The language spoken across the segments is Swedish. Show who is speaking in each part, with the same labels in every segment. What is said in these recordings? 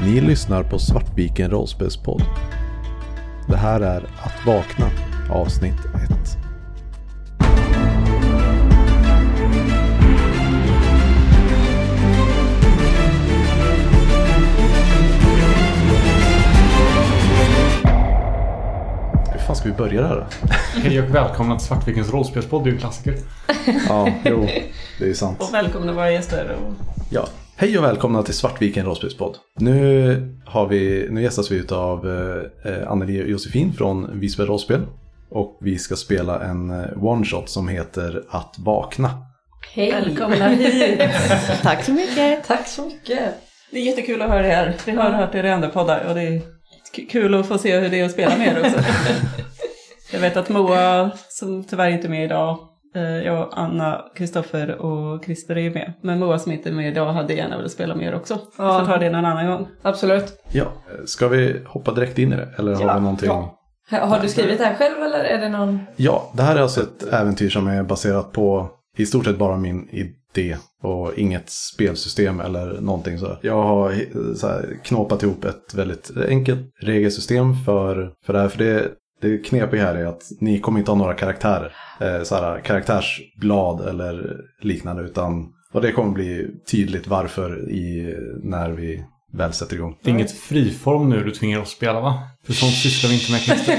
Speaker 1: Ni lyssnar på Svartviken rollspelspodd. Det här är Att vakna, avsnitt 1. Hur fan ska vi börja det här då?
Speaker 2: Hej och välkomna till Svartvikens rollspelspodd, det är ju en klassiker.
Speaker 1: Ja, jo, det är sant.
Speaker 3: Och välkomna våra gäster. Och...
Speaker 1: Ja. Hej och välkomna till Svartviken rollspelspodd. Nu, har vi, nu gästas vi av eh, Anneli och Josefin från Visby rollspel. Och vi ska spela en eh, one-shot som heter Att vakna.
Speaker 4: Hej!
Speaker 3: Välkomna hit!
Speaker 4: Tack så mycket!
Speaker 3: Tack så mycket! Det är jättekul att höra er. Vi har hört er i andra poddar och det är k- kul att få se hur det är att spela med er också. jag vet att Moa, som tyvärr inte är med idag, eh, jag, Anna, Kristoffer och Christer är med. Men Moa som inte är med idag hade gärna velat spela med er också. Vi får ta det någon annan gång.
Speaker 4: Absolut.
Speaker 1: Ja, eh, ska vi hoppa direkt in i det? Eller har vi någonting? Ja.
Speaker 4: Har du skrivit det här själv eller är det någon?
Speaker 1: det här är alltså ett äventyr som är baserat på i stort sett bara min idé och inget spelsystem eller någonting så. Jag har eh, så här, knåpat ihop ett väldigt enkelt regelsystem för, för det här. För det, Det knepiga här är att ni kommer inte ha några karaktärer. Eh, så här, karaktärsblad eller liknande. Utan, och det kommer bli tydligt varför i, när vi väl sätter igång.
Speaker 2: Det är inget friform nu du tvingar oss spela va? För sånt sysslar vi inte med Christer.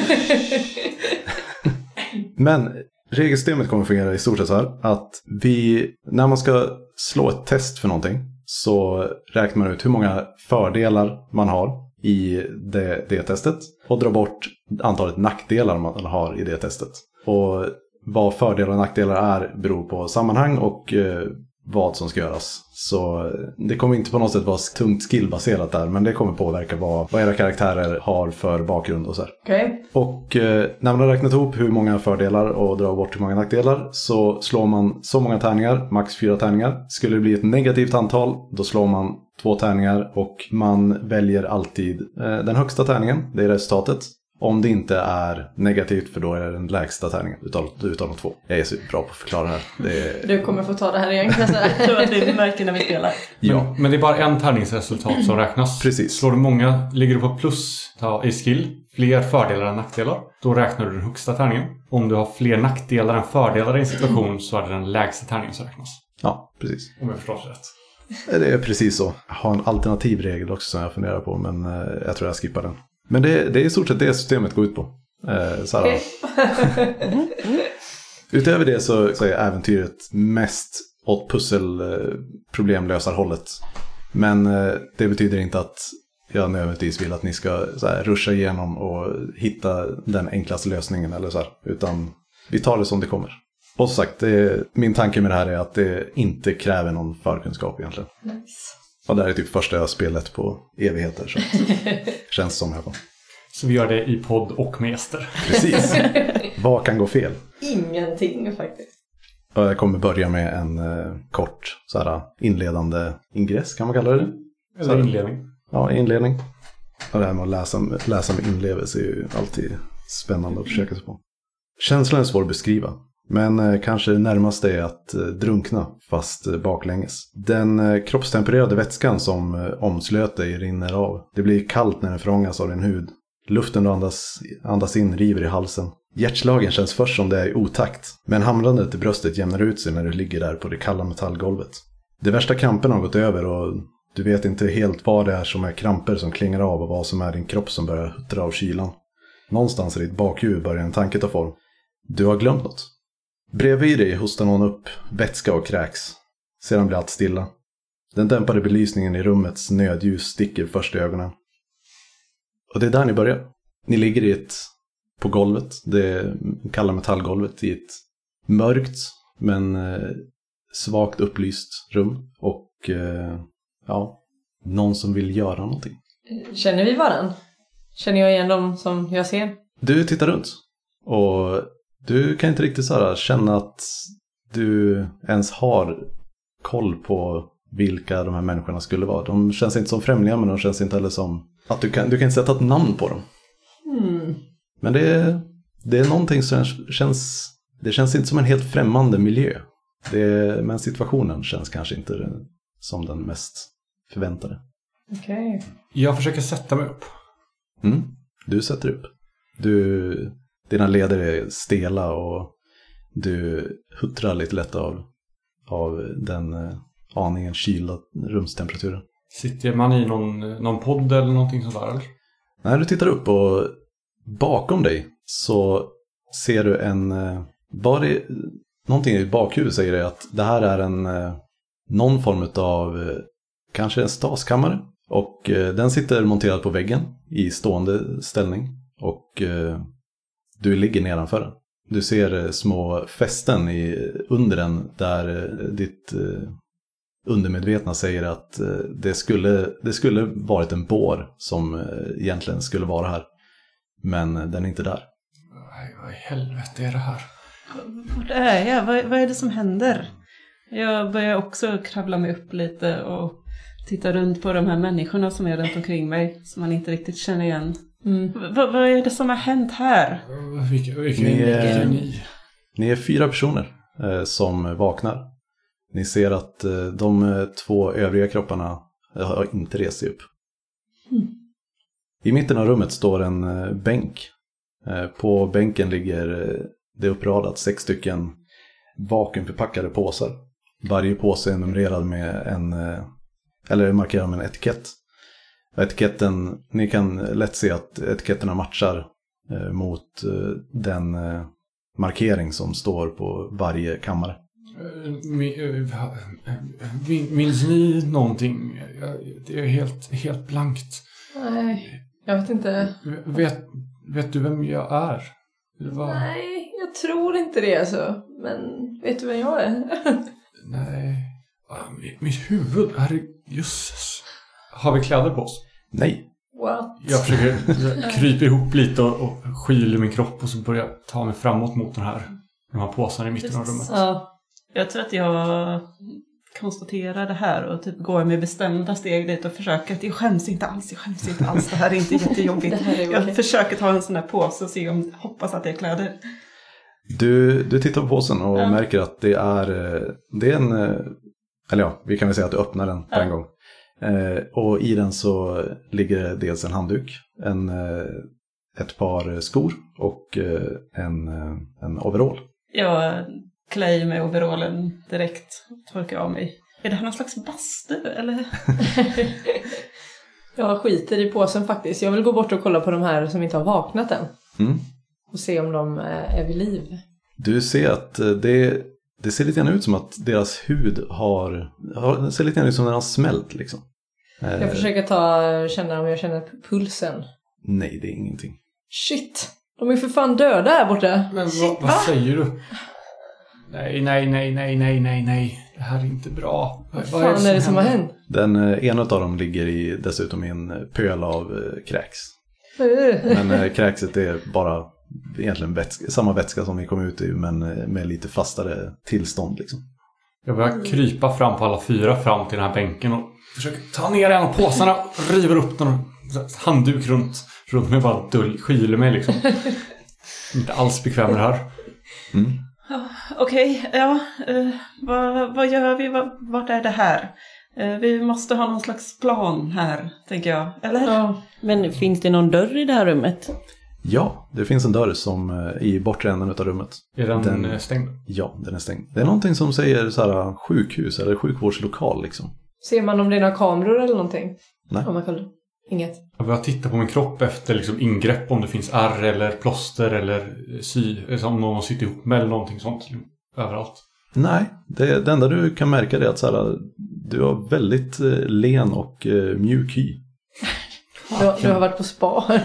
Speaker 1: Men regelsystemet kommer fungera i stort sett så här. Att vi, när man ska slå ett test för någonting så räknar man ut hur många fördelar man har i det, det testet och drar bort antalet nackdelar man har i det testet. Och vad fördelar och nackdelar är beror på sammanhang och eh, vad som ska göras. Så det kommer inte på något sätt vara tungt skillbaserat där, men det kommer påverka vad, vad era karaktärer har för bakgrund och så här.
Speaker 4: Okej.
Speaker 1: Och eh, när man har räknat ihop hur många fördelar och drar bort hur många nackdelar så slår man så många tärningar, max fyra tärningar. Skulle det bli ett negativt antal, då slår man två tärningar och man väljer alltid eh, den högsta tärningen, det är resultatet. Om det inte är negativt, för då är det den lägsta tärningen utav, utav de två. Jag är så bra på att förklara det här. Det är,
Speaker 4: Du kommer få ta det här igen kan jag
Speaker 3: Jag
Speaker 4: säga.
Speaker 3: tror att vi märker när vi spelar.
Speaker 1: ja,
Speaker 2: Men det är bara en tärningsresultat som räknas.
Speaker 1: Precis.
Speaker 2: Slår du många, ligger du på plus ja, i skill, fler fördelar än nackdelar, då räknar du den högsta tärningen. Om du har fler nackdelar än fördelar i en situation så är det den lägsta tärningen som räknas.
Speaker 1: ja, precis.
Speaker 2: Om jag förstår det rätt.
Speaker 1: Det är precis så. Jag har en alternativ regel också som jag funderar på, men eh, jag tror jag skippar den. Men det, det är i stort sett det systemet går ut på. Eh, så här,
Speaker 4: Okej.
Speaker 1: Utöver det så, så är äventyret mest åt pusselproblemlösarhållet. Men eh, det betyder inte att jag nödvändigtvis vill att ni ska så här, ruscha igenom och hitta den enklaste lösningen eller så här. Utan vi tar det som det kommer. Och som sagt, det, min tanke med det här är att det inte kräver någon förkunskap egentligen. Och det här är typ första jag har spelat på evigheter. Så att- känns som i alla fall.
Speaker 2: Så vi gör det i podd och med gäster.
Speaker 1: Precis. Vad kan gå fel?
Speaker 4: Ingenting faktiskt.
Speaker 1: Och Jag kommer börja med en eh, kort så här, inledande ingress, kan man kalla det.
Speaker 2: Eller inledning.
Speaker 1: Ja, inledning. Och det här med att läsa, läsa med inlevelse är ju alltid spännande att försöka sig på. Känslan är svår att beskriva, men eh, kanske det närmaste är att eh, drunkna, fast eh, baklänges. Den eh, kroppstempererade vätskan som eh, omslöt dig rinner av. Det blir kallt när den förångas av din hud. Luften du andas, andas in river i halsen. Hjärtslagen känns först som det är i otakt, men hamrandet i bröstet jämnar ut sig när du ligger där på det kalla metallgolvet. De värsta kramperna har gått över och du vet inte helt vad det är som är kramper som klingar av och vad som är din kropp som börjar huttra av kylan. Någonstans i ditt bakhuvud börjar en tanke ta form. Du har glömt något. Bredvid dig hostar någon upp vätska och kräks. Sedan blir allt stilla. Den dämpade belysningen i rummets nödljus sticker först i ögonen. Och det är där ni börjar. Ni ligger i ett, på golvet, det kalla metallgolvet, i ett mörkt men eh, svagt upplyst rum och eh, ja, någon som vill göra någonting.
Speaker 4: Känner vi varann? Känner jag igen dem som jag ser?
Speaker 1: Du tittar runt och du kan inte riktigt så här, känna att du ens har koll på vilka de här människorna skulle vara. De känns inte som främlingar men de känns inte heller som att du kan, du kan inte sätta ett namn på dem.
Speaker 4: Mm.
Speaker 1: Men det är, det är någonting som känns, det känns inte som en helt främmande miljö. Det, men situationen känns kanske inte som den mest förväntade.
Speaker 4: Okej.
Speaker 2: Jag försöker sätta mig upp.
Speaker 1: Mm. Du sätter upp. Du, dina leder är stela och du huttrar lite lätt av, av den eh, aningen kyla rumstemperaturen.
Speaker 2: Sitter man i någon, någon podd eller någonting sånt där eller?
Speaker 1: När du tittar upp och bakom dig så ser du en... eh, Var det, någonting i bakhuvudet säger dig att det här är en... eh, Någon form av kanske en staskammare. Och eh, den sitter monterad på väggen i stående ställning. Och eh, du ligger nedanför den. Du ser eh, små fästen i, under den där eh, ditt eh, undermedvetna säger att eh, det skulle, det skulle varit en bår som eh, egentligen skulle vara här. Men eh, den är inte där.
Speaker 2: Nej, vad i helvete är det här?
Speaker 3: Vart är jag? Vad, vad är det som händer? Jag börjar också kravla mig upp lite och titta runt på de här människorna som är runt omkring mig som man inte riktigt känner igen.
Speaker 4: Mm.
Speaker 3: V- vad- vad är det som har hänt här?
Speaker 2: Eh, Vilka, vilka,
Speaker 1: Ni,
Speaker 2: vilka är
Speaker 1: eh,
Speaker 2: ni?
Speaker 1: Ni är fyra personer eh, som vaknar. Ni ser att eh, de eh, två övriga kropparna eh, har inte rest sig upp. I mitten av rummet står en eh, bänk. Eh, På bänken ligger eh, det uppradat sex stycken vakuumförpackade påsar. Varje påse är numrerad med en, eh, eller markerad med en etikett. Etiketten, ni kan lätt se att etiketterna matchar eh, mot eh, den eh, markering som står på varje kammare.
Speaker 2: Eh, mi- eh, eh, min- Minns ni någonting? Jag- Det är helt, helt blankt.
Speaker 4: Nej, jag vet inte.
Speaker 2: Vet, vet du vem jag är? Eller vad?
Speaker 4: Nej, jag tror inte det alltså. Men vet du vem jag är?
Speaker 2: Nej. Ah, mi- Mitt huvud, herrejösses. Har vi kläder på oss?
Speaker 1: Nej,
Speaker 4: What?
Speaker 2: Jag försöker krypa ihop lite och, och skyla min kropp och så börjar jag ta mig framåt mot den här, de här påsarna i mitten av rummet.
Speaker 4: Ja.
Speaker 3: Jag tror att jag konstaterar det här och typ går med bestämda steg dit och försöker att jag skäms inte alls, jag skäms inte alls, det här är inte
Speaker 4: Det
Speaker 3: jättejobbigt.
Speaker 4: här är okej.
Speaker 3: Jag försöker ta en sån här påse och se om, hoppas att det är kläder.
Speaker 1: du, du tittar på påsen och
Speaker 3: Ja.
Speaker 1: märker att det är, eh, det är en, eh, eller ja, vi kan väl säga att du öppnar den på
Speaker 3: Ja.
Speaker 1: en gång. Eh, och i den så ligger det dels en handduk, en, eh, ett par skor och eh, en, eh, en overall.
Speaker 3: Jag klär i mig overallen direkt, torkar av mig. Är det här någon slags bastu eller?
Speaker 4: Jag skiter i påsen faktiskt. Jag vill gå bort och kolla på de här som inte har vaknat än.
Speaker 1: Mm.
Speaker 4: Och se om de eh, är vid liv.
Speaker 1: Du ser att eh, det, det ser lite grann ut som att deras hud har, har det ser lite grann ut som den har smält liksom. Eh,
Speaker 4: Jag försöker ta, känna om jag känner p- pulsen.
Speaker 1: Nej, det är ingenting.
Speaker 4: Shit! De är för fan döda här borta!
Speaker 2: Men vad, vad säger du? Nej, nej, nej, nej, nej, nej, nej. Det här är inte bra.
Speaker 4: Vad fan är det som har hänt?
Speaker 1: Den eh, ena av dem ligger i, dessutom i en eh, pöl av eh, kräks.
Speaker 4: Eh,
Speaker 1: Men eh, kräkset är bara egentligen vätska, samma vätska som vi kom ut i men eh, med lite fastare tillstånd. Liksom.
Speaker 2: Jag börjar krypa fram på alla fyra fram till den här bänken och försöker ta ner en av påsarna och river upp den och så här, handduk runt, runt mig. Bara dull, skyler mig liksom. Inte alls bekväm med det här.
Speaker 3: Okej, ja, eh, vad, vad gör vi? Vad, vart är det här? Eh, vi måste ha någon slags plan här, tänker jag. Eller?
Speaker 4: ja.
Speaker 5: Men finns det någon dörr i det här rummet?
Speaker 1: Ja, det finns en dörr som eh, i bortre änden av rummet.
Speaker 2: Är den,
Speaker 1: Den-
Speaker 2: eh, stängd?
Speaker 1: Ja, den är stängd. Det är någonting som säger så här, eh, sjukhus eller sjukvårdslokal liksom.
Speaker 4: Ser man om det är några kameror eller någonting?
Speaker 1: Nej.
Speaker 4: Om man kollar. Inget.
Speaker 2: Jag börjar titta på min kropp efter liksom ingrepp om det finns ärr eller plåster eller eh, sy, eller om någon sitter ihop med eller någonting sånt. Överallt.
Speaker 1: Nej, det, det enda du kan märka är att så här, du har väldigt eh, len och eh, mjuk hy.
Speaker 4: Du, har- du har varit på spa.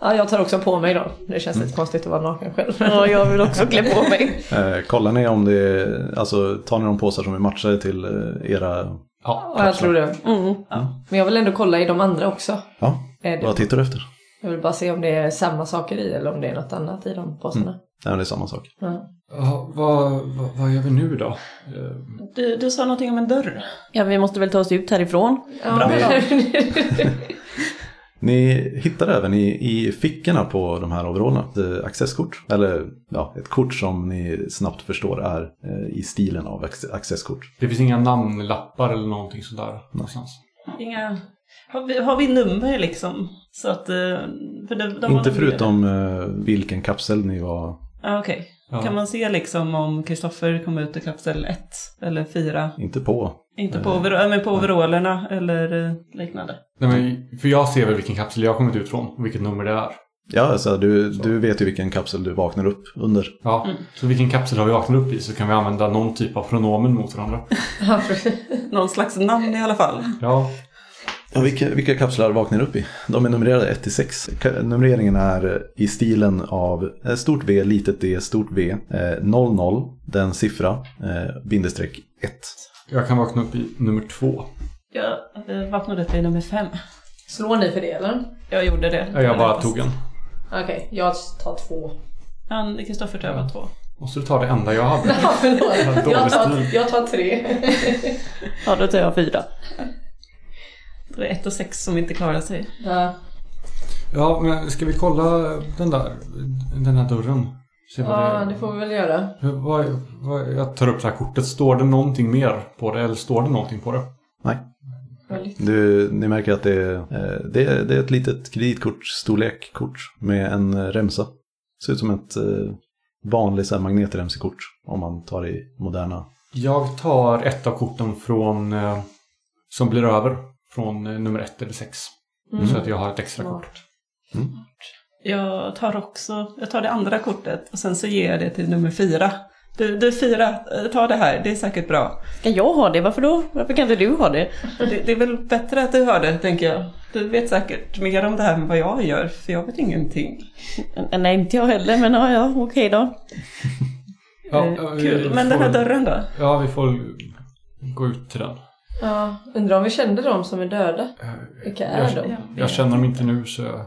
Speaker 4: ja, jag tar också på mig då. Det känns
Speaker 1: Mm.
Speaker 4: lite konstigt att vara naken själv.
Speaker 5: Ja, jag vill också klä på mig.
Speaker 1: Eh, kollar ni om det är, alltså tar ni de påsar som är matchade till eh, era...
Speaker 2: Ja.
Speaker 4: Ja, jag tror det.
Speaker 5: Mm.
Speaker 4: Men jag vill ändå kolla i de andra också.
Speaker 1: Ja,
Speaker 4: Är
Speaker 1: vad
Speaker 4: det,
Speaker 1: tittar du efter?
Speaker 4: jag vill bara se om det är samma saker i eller om det är något annat i de påsarna.
Speaker 1: Nej, men det är samma sak.
Speaker 4: Ja.
Speaker 2: Ja, vad, vad, vad gör vi nu då? Eh,
Speaker 3: Du, du sa någonting om en dörr.
Speaker 5: Ja, vi måste väl ta oss ut härifrån.
Speaker 1: Mm.
Speaker 4: Ja,
Speaker 1: Ni hittar även i, i fickorna på de här overallerna ett eh, accesskort. Eller ja, ett kort som ni snabbt förstår är eh, i stilen av acce- accesskort.
Speaker 2: Det finns inga namnlappar eller någonting sådär. någonstans.
Speaker 3: Inga... Har vi, har vi nummer liksom? Så att, eh, för det, de
Speaker 1: Inte
Speaker 3: var-
Speaker 1: förutom eh, vilken kapsel ni var.
Speaker 3: Ja, Okej.
Speaker 2: Ja.
Speaker 3: Kan man se liksom om Kristoffer kom ut i kapsel 1 eller 4?
Speaker 1: Inte på.
Speaker 3: Inte
Speaker 1: Eh.
Speaker 3: på, over- men på overallerna eller eh, liknande.
Speaker 2: Nej, men, för jag ser väl vilken kapsel jag har kommit ut från och vilket nummer det är.
Speaker 1: Ja, alltså, du, du vet ju vilken kapsel du vaknar upp under.
Speaker 2: Ja, så vilken kapsel har vi vaknat upp i så kan vi använda någon typ av pronomen mot varandra.
Speaker 4: Ja, precis.
Speaker 3: Någon slags namn i alla fall.
Speaker 2: Ja,
Speaker 1: Ja, vilka, vilka kapslar vaknar du upp i? De är numrerade 1-6. Ka- Numreringen är eh, i stilen av eh, stort V, litet D, stort V, eh, 00, den siffra, eh, bindestreck 1.
Speaker 2: jag kan vakna upp i nummer två.
Speaker 3: Jag eh, vaknade upp i nummer 5.
Speaker 4: Slår ni för det eller?
Speaker 3: Jag gjorde det.
Speaker 2: Ja, Jag bara tog en.
Speaker 4: Okej, jag tar två.
Speaker 3: Han, Kristoffer tar bara två.
Speaker 2: Måste du ta det enda jag hade?
Speaker 4: Ja, förlåt.
Speaker 2: Dålig
Speaker 4: Jag tar,
Speaker 2: stil.
Speaker 4: jag tar tre.
Speaker 5: Ja, då tar jag fyra.
Speaker 3: Det är ett och sex som inte klarar sig.
Speaker 4: Ja.
Speaker 2: Ja, men ska vi kolla den där, den där dörren? Se vad
Speaker 4: ja,
Speaker 2: det-
Speaker 4: det får vi väl göra.
Speaker 2: Hur- Vad, vad, jag tar upp det här kortet. Står det någonting mer på det? Eller står det någonting på det?
Speaker 1: Nej.
Speaker 4: Väldigt.
Speaker 1: Du, ni märker att det är, eh, det, är, det är ett litet kreditkort, storlekkort med en eh, remsa. Ser ut som ett eh, vanligt så här magnetremsekort om man tar i moderna.
Speaker 2: Jag tar ett av korten från eh, som blir över från eh, nummer ett eller sex.
Speaker 3: Mm.
Speaker 2: Så att jag har ett extra
Speaker 4: Smart.
Speaker 2: kort.
Speaker 3: Jag tar också, jag tar det andra kortet och sen så ger jag det till nummer fyra. Du, du fyra, eh, ta det här, det är säkert bra.
Speaker 5: Ska jag ha det? Varför då? Varför kan inte du ha det?
Speaker 3: Det, det är väl bättre att du har det, tänker jag. Du vet säkert mer om det här än vad jag gör, för jag vet ingenting.
Speaker 5: N- Nej, inte jag heller, men ja, ja okej då.
Speaker 2: Ja,
Speaker 3: Eh,
Speaker 2: ja, vi
Speaker 3: Kul, men den
Speaker 2: får-
Speaker 3: här dörren då?
Speaker 2: Ja, vi får gå ut till den.
Speaker 4: Ja, undrar om vi kände dem som är döda.
Speaker 2: Eh,
Speaker 4: Vilka
Speaker 2: jag,
Speaker 4: är de?
Speaker 2: Jag känner dem inte nu så jag,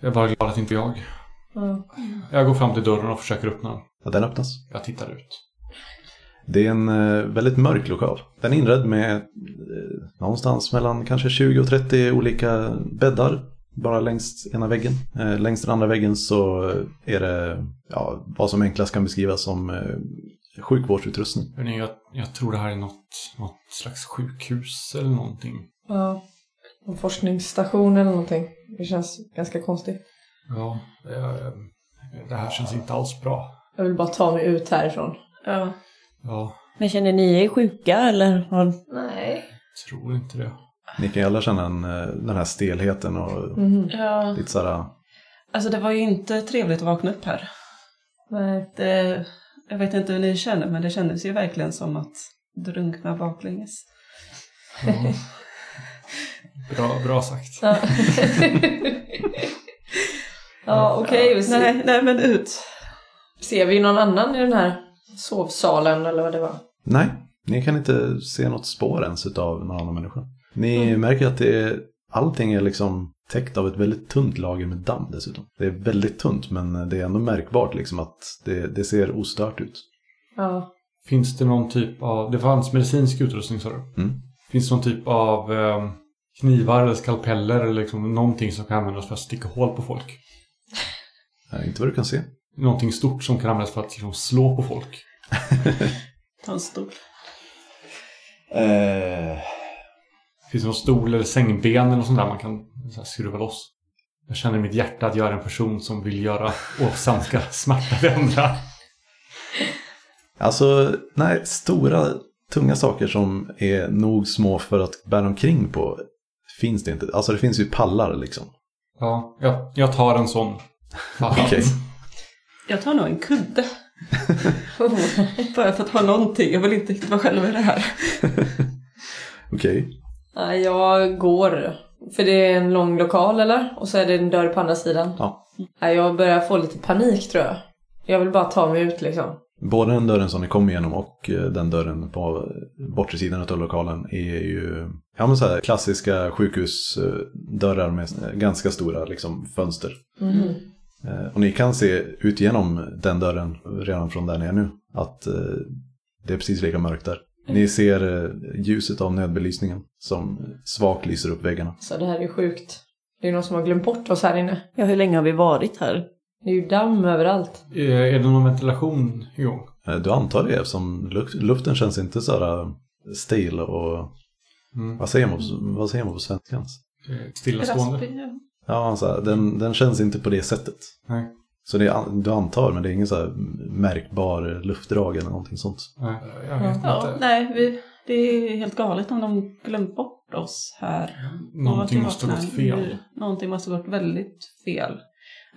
Speaker 2: jag är bara glad att inte jag.
Speaker 4: Ja.
Speaker 2: Jag går fram till dörren och försöker öppna den.
Speaker 1: Ja, den öppnas.
Speaker 2: Jag tittar ut.
Speaker 1: Det är en eh, väldigt mörk lokal. Den är inredd med eh, någonstans mellan kanske 20 och 30 olika bäddar. Bara längs ena väggen. Eh, längs den andra väggen så är det ja, vad som enklast kan beskrivas som eh, sjukvårdsutrustning.
Speaker 2: Hörrni, Jag, jag tror det här är något, något slags sjukhus eller någonting.
Speaker 4: ja. En forskningsstation eller någonting. Det känns ganska konstigt.
Speaker 2: Ja, eh, det här känns inte alls bra.
Speaker 4: Jag vill bara ta mig ut härifrån.
Speaker 3: Ja.
Speaker 2: Ja,
Speaker 5: Men känner ni er sjuka eller? har-
Speaker 4: Nej.
Speaker 2: tror inte det.
Speaker 1: Ni kan ju alla känna en, eh, den här stelheten och
Speaker 4: Mhm.
Speaker 3: ja.
Speaker 1: lite så här,
Speaker 3: Alltså det var ju inte trevligt att vakna upp här.
Speaker 4: Nej.
Speaker 3: Det, jag vet inte hur ni känner, men det kändes ju verkligen som att drunkna baklänges.
Speaker 2: Ja. Bra, bra sagt.
Speaker 4: Ja, ja okej. vi ser-
Speaker 3: Nej, nej men ut.
Speaker 4: Ser vi någon annan i den här sovsalen eller vad det var?
Speaker 1: nej, ni kan inte se något spår ens av någon annan människa. Ni märker att det är, allting är liksom täckt av ett väldigt tunt lager med damm dessutom. Det är väldigt tunt men det är ändå märkbart liksom att det, det ser ostört ut.
Speaker 4: Ja.
Speaker 2: Finns det någon typ av... Det fanns medicinsk utrustning sa du?
Speaker 1: Mm.
Speaker 2: Finns det någon typ av eh, knivar eller skalpeller eller liksom någonting som kan användas för att sticka hål på folk?
Speaker 1: Eh, inte vad du kan se.
Speaker 2: Någonting stort som kan användas för att liksom, slå på folk?
Speaker 3: Ta en stol.
Speaker 2: Finns det någon stol eller sängben eller något sånt där man kan så här, skruva loss? Jag känner i mitt hjärta att jag är en person som vill göra åsamka smärta vid andra.
Speaker 1: Alltså, nej, stora tunga saker som är nog små för att bära omkring på finns det inte. Alltså det finns ju pallar liksom.
Speaker 2: Ja, jag, jag tar en sån.
Speaker 1: Okej.
Speaker 3: Jag tar nog en kudde. Oh. Bara för att ha någonting. Jag vill inte riktigt vara själv i det här.
Speaker 1: Okej.
Speaker 4: Ja, jag går. För det är en lång lokal eller? Och så är det en dörr på andra sidan.
Speaker 1: Ja.
Speaker 4: Ja, jag börjar få lite panik tror jag. Jag vill bara ta mig ut liksom.
Speaker 1: Både den dörren som ni kom igenom och eh, den dörren på eh, bortre sidan av lokalen är ju ja, men så här, klassiska sjukhusdörrar med eh, ganska stora liksom, fönster.
Speaker 3: Mm.
Speaker 1: Eh, Och ni kan se ut genom den dörren redan från där ni är nu att eh, det är precis lika mörkt där. Ni ser eh, ljuset av nödbelysningen som svagt lyser upp väggarna.
Speaker 4: Så det här är ju sjukt. Det är någon som har glömt bort oss här inne.
Speaker 5: Ja, hur länge har vi varit här?
Speaker 4: Det är ju damm överallt.
Speaker 2: Eh, Är det någon ventilation igång?
Speaker 1: Eh, Du antar det eftersom luk- luften känns inte så här eh, stel och
Speaker 2: Mm.
Speaker 1: Vad säger man på, vad säger man på svenska ens?
Speaker 2: Eh, Stillastående.
Speaker 1: Ja, så här, den, den känns inte på det sättet.
Speaker 2: Nej.
Speaker 1: Så det, är an- du antar, men det är ingen så här märkbar luftdrag eller någonting sånt.
Speaker 2: Nej, Jag vet
Speaker 3: Ja,
Speaker 2: inte.
Speaker 3: nej, vi, det är helt galet om de glömt bort oss här.
Speaker 2: Någonting
Speaker 3: Och
Speaker 2: måste ha
Speaker 3: vakna.
Speaker 2: gått fel.
Speaker 3: Vi- Någonting måste ha gått väldigt fel.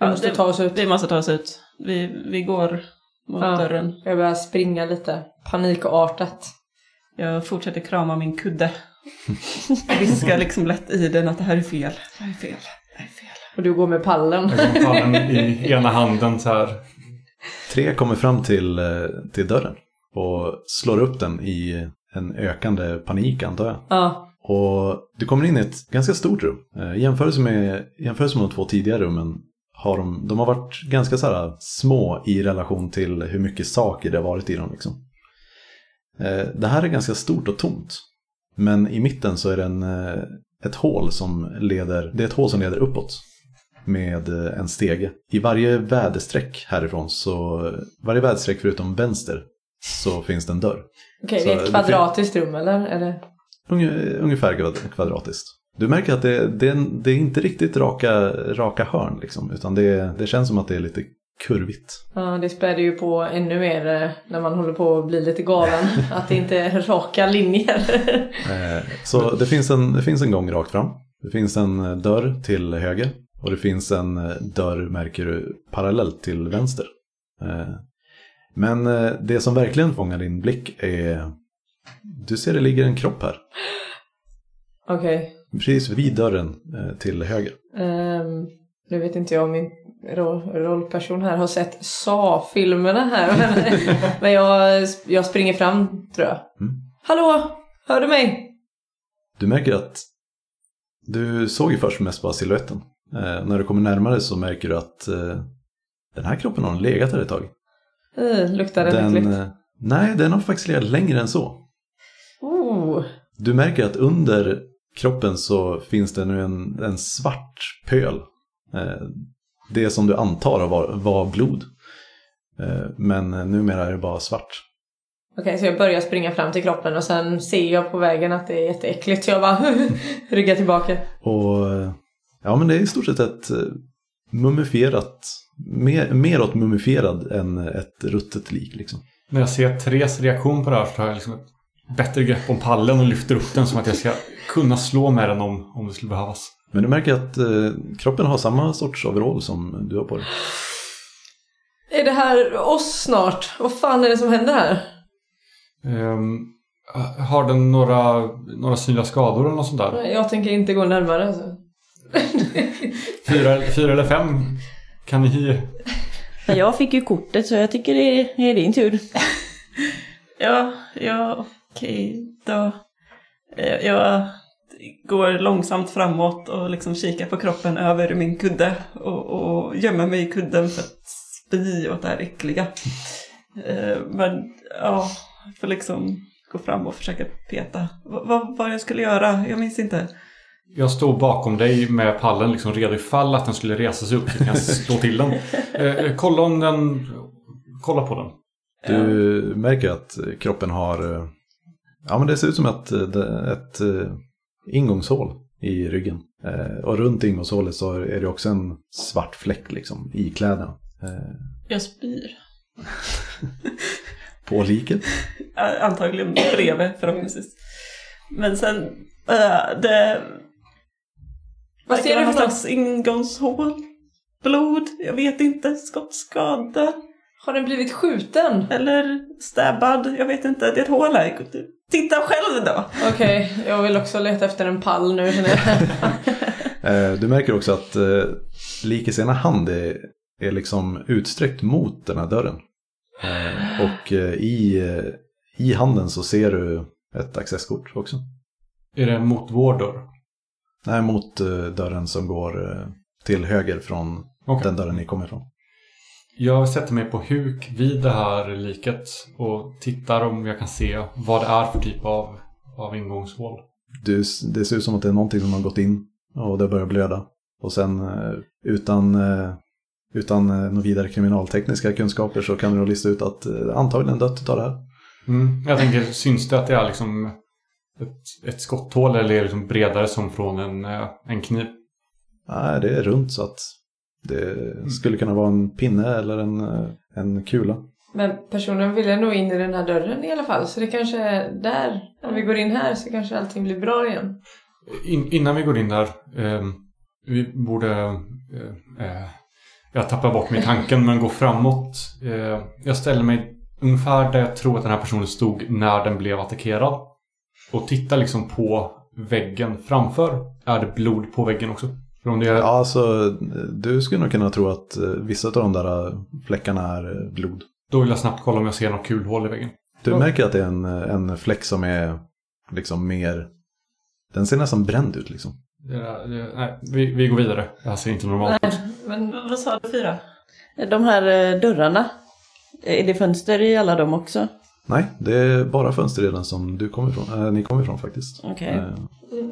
Speaker 4: Vi måste
Speaker 3: det-
Speaker 4: ta oss ut.
Speaker 3: Vi måste ta oss ut. Vi, vi går mot
Speaker 4: Ja.
Speaker 3: dörren.
Speaker 4: Jag börjar springa lite panikartat.
Speaker 3: Jag fortsätter krama min kudde. Viskar liksom lätt i den att det här är fel. Det här är fel. Det här är fel.
Speaker 4: Och du går med pallen.
Speaker 2: Jag kan ta den i ena handen så här.
Speaker 1: Tre kommer fram till, eh, till dörren och slår upp den i en ökande panik antar jag.
Speaker 4: Ja,
Speaker 1: Och du kommer in i ett ganska stort rum. Eh, I jämförelse med, i jämförelse med de två tidigare rummen har de, de har varit ganska så här små i relation till hur mycket saker det har varit i dem. Liksom. Eh, Det här är ganska stort och tomt. Men i mitten så är det en, eh, ett hål som leder, det är ett hål som leder uppåt med eh, en stege. I varje väderstreck härifrån så, varje väderstreck förutom vänster så finns det en dörr.
Speaker 4: okej
Speaker 1: Så
Speaker 4: det är
Speaker 1: det
Speaker 4: ett kvadratiskt rum eller? eller?
Speaker 1: Unge- Ungefär kvad- kvadratiskt. Du märker att det, det, är- det är inte riktigt raka, raka hörn liksom, utan det, det känns som att det är lite kurvigt.
Speaker 4: Ja, det späder ju på ännu mer eh, när man håller på att bli lite galen. att det inte är raka linjer.
Speaker 1: Eh, Så det finns, en, det finns en gång rakt fram. Det finns en eh, dörr till höger och det finns en eh, dörr, märker du, parallellt till vänster. Eh, Men eh, det som verkligen fångar din blick är... Du ser det ligger en kropp här,
Speaker 4: okej.
Speaker 1: precis vid dörren eh, till höger.
Speaker 4: Ehm, nu vet inte jag om min roll, rollperson här har sett Sa-filmerna här. Men, men jag, jag springer fram tror jag.
Speaker 1: Mm.
Speaker 4: Hallå! Hör du mig?
Speaker 1: Du märker att du såg ju först mest bara siluetten. Eh, när du kommer närmare så märker du att eh, den här kroppen har legat där ett tag.
Speaker 4: Uh, luktar det
Speaker 1: Den,
Speaker 4: äckligt?
Speaker 1: eh, nej, den har faktiskt legat längre än så.
Speaker 4: Oh,
Speaker 1: Du märker att under kroppen så finns det nu en, en svart pöl. Eh, det som du antar var, var blod. Eh, men numera är det bara svart.
Speaker 4: Okej, så jag börjar springa fram till kroppen och sen ser jag på vägen att det är jätteäckligt så jag bara ryggar tillbaka.
Speaker 1: Och eh, ja, men det är i stort sett ett eh, mumifierat, mer, mer åt mumifierad än ett ruttet lik liksom.
Speaker 2: När jag ser Therese reaktion på det här så tar jag liksom ett bättre grepp om pallen och lyfter upp den som att jag ska kunna slå med den om, om det skulle behövas.
Speaker 1: Men du märker att eh, kroppen har samma sorts overall som du har på dig.
Speaker 4: Är det här oss snart? Vad fan är det som händer här?
Speaker 2: Ehm, har den några, några synliga skador eller något sånt där?
Speaker 4: Jag tänker inte gå närmare. Alltså.
Speaker 2: Fyra, fyra eller fem? Kan ni...
Speaker 5: Men jag fick ju kortet så jag tycker det är din tur.
Speaker 3: Ja, ja, okej då. Eh, Jag går långsamt framåt och liksom kikar på kroppen över min kudde och, och gömmer mig i kudden för att spy åt det här äckliga. Eh, Men ja, jag får liksom gå fram och försöka peta. Vad, vad, vad jag skulle göra, jag minns inte.
Speaker 2: Jag står bakom dig med pallen liksom redo ifall att den skulle resa sig upp så kan jag slå till den. Eh, kolla om den... Kolla på den.
Speaker 1: Du märker att eh, kroppen har, eh, ja men det ser ut som ett, eh, det- ett eh, ingångshål i ryggen. Eh, och runt ingångshålet så är det också en svart fläck liksom i kläderna. Eh,
Speaker 3: Jag spyr.
Speaker 1: på liket.
Speaker 3: Ä- Eh, Antagligen bredvid förhoppningsvis. Men sen, äh, det
Speaker 4: Vad ser du för något?
Speaker 3: slags ingångshål? Blod? Jag vet inte. Skottskada?
Speaker 4: Har den blivit skjuten?
Speaker 3: Eller stabbad? Jag vet inte. Det är ett hål här. Titta själv då!
Speaker 4: Okej, jag vill också leta efter en pall nu. känner jag.
Speaker 1: Eh, Du märker också att eh, likets ena hand är, är liksom utsträckt mot den här dörren. Eh, Och eh, i, eh, i handen så ser du ett accesskort också.
Speaker 2: Är det mot vår dörr?
Speaker 1: Nej, mot eh, dörren som går eh, till höger från
Speaker 2: Okej.
Speaker 1: den dörren ni kommer ifrån.
Speaker 2: Jag sätter mig på huk vid det här liket och tittar om jag kan se vad det är för typ av, av ingångshål.
Speaker 1: Du, det ser ut som att det är någonting som har gått in och det börjar blöda. Och sen eh, utan, eh, utan eh, några vidare kriminaltekniska kunskaper så kan du nog lista ut att eh, antagligen dött utav det här.
Speaker 2: Mm. Jag tänker, syns det att det är liksom ett, ett skotthål eller är det liksom bredare som från en, eh, en kniv?
Speaker 1: Nej, det är runt så att det skulle kunna vara en pinne eller en, eh, en kula.
Speaker 4: Men personen ville nog in i den här dörren i alla fall. Så det kanske är där. Om vi går in här så kanske allting blir bra igen.
Speaker 2: In, innan vi går in där, eh, vi borde... Eh, eh, jag tappar bort mig i tanken men går framåt. Eh, jag ställer mig ungefär där jag tror att den här personen stod när den blev attackerad. Och tittar liksom på väggen framför. Är det blod på väggen också? För om det är...
Speaker 1: Ja, alltså du skulle nog kunna tro att eh, vissa av de där eh, fläckarna är eh, blod.
Speaker 2: Då vill jag snabbt kolla om jag ser något kulhål i väggen.
Speaker 1: Du
Speaker 2: Ja.
Speaker 1: märker att det är en, eh, en fläck som är liksom mer... Den ser nästan bränd ut liksom.
Speaker 2: Det där, det, nej, vi, vi går vidare. Det här ser inte normalt ut.
Speaker 4: Men
Speaker 3: Vad sa du, fyra?
Speaker 5: De här eh, dörrarna, är det fönster i alla dem också?
Speaker 1: Nej, det är bara fönsterreden som du kom ifrån, eh, ni kom ifrån faktiskt.
Speaker 5: Okej.
Speaker 1: Eh,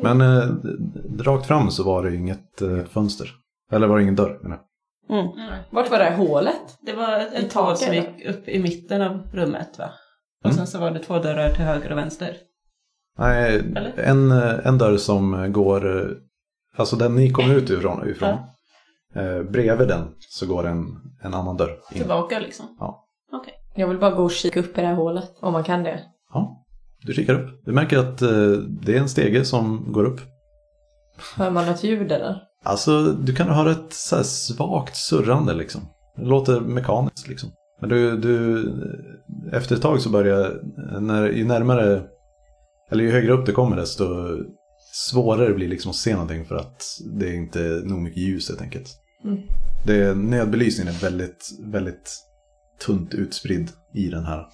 Speaker 1: men eh, d- d- rakt fram så var det inget eh, fönster. Eller var det ingen dörr menar jag.
Speaker 4: vart var det här hålet?
Speaker 3: Det var ett-
Speaker 4: I
Speaker 3: ett hål som
Speaker 4: taket,
Speaker 3: gick upp i mitten av rummet va? Och sen så var det två dörrar till höger och vänster.
Speaker 1: Nej,
Speaker 3: Eller?
Speaker 1: en, eh, en dörr som går, eh, alltså den ni kom ut ifrån, ifrån eh, bredvid den så går en, en annan dörr in.
Speaker 3: Tillbaka liksom.
Speaker 4: Jag vill bara gå och kika upp i det här hålet. Om man kan det.
Speaker 1: Ja, du kikar upp. Du märker att eh, det är en stege som går upp.
Speaker 4: Hör man något ljud eller?
Speaker 1: Alltså, du kan höra ett så här svagt surrande liksom. Det låter mekaniskt liksom. Men du, du, efter ett tag så börjar, när, ju närmare, eller ju högre upp du kommer desto svårare det blir liksom att se någonting för att det är inte nog mycket ljus helt enkelt.
Speaker 4: Mm.
Speaker 1: Det, nödbelysningen är väldigt, väldigt tunt utspridd i den här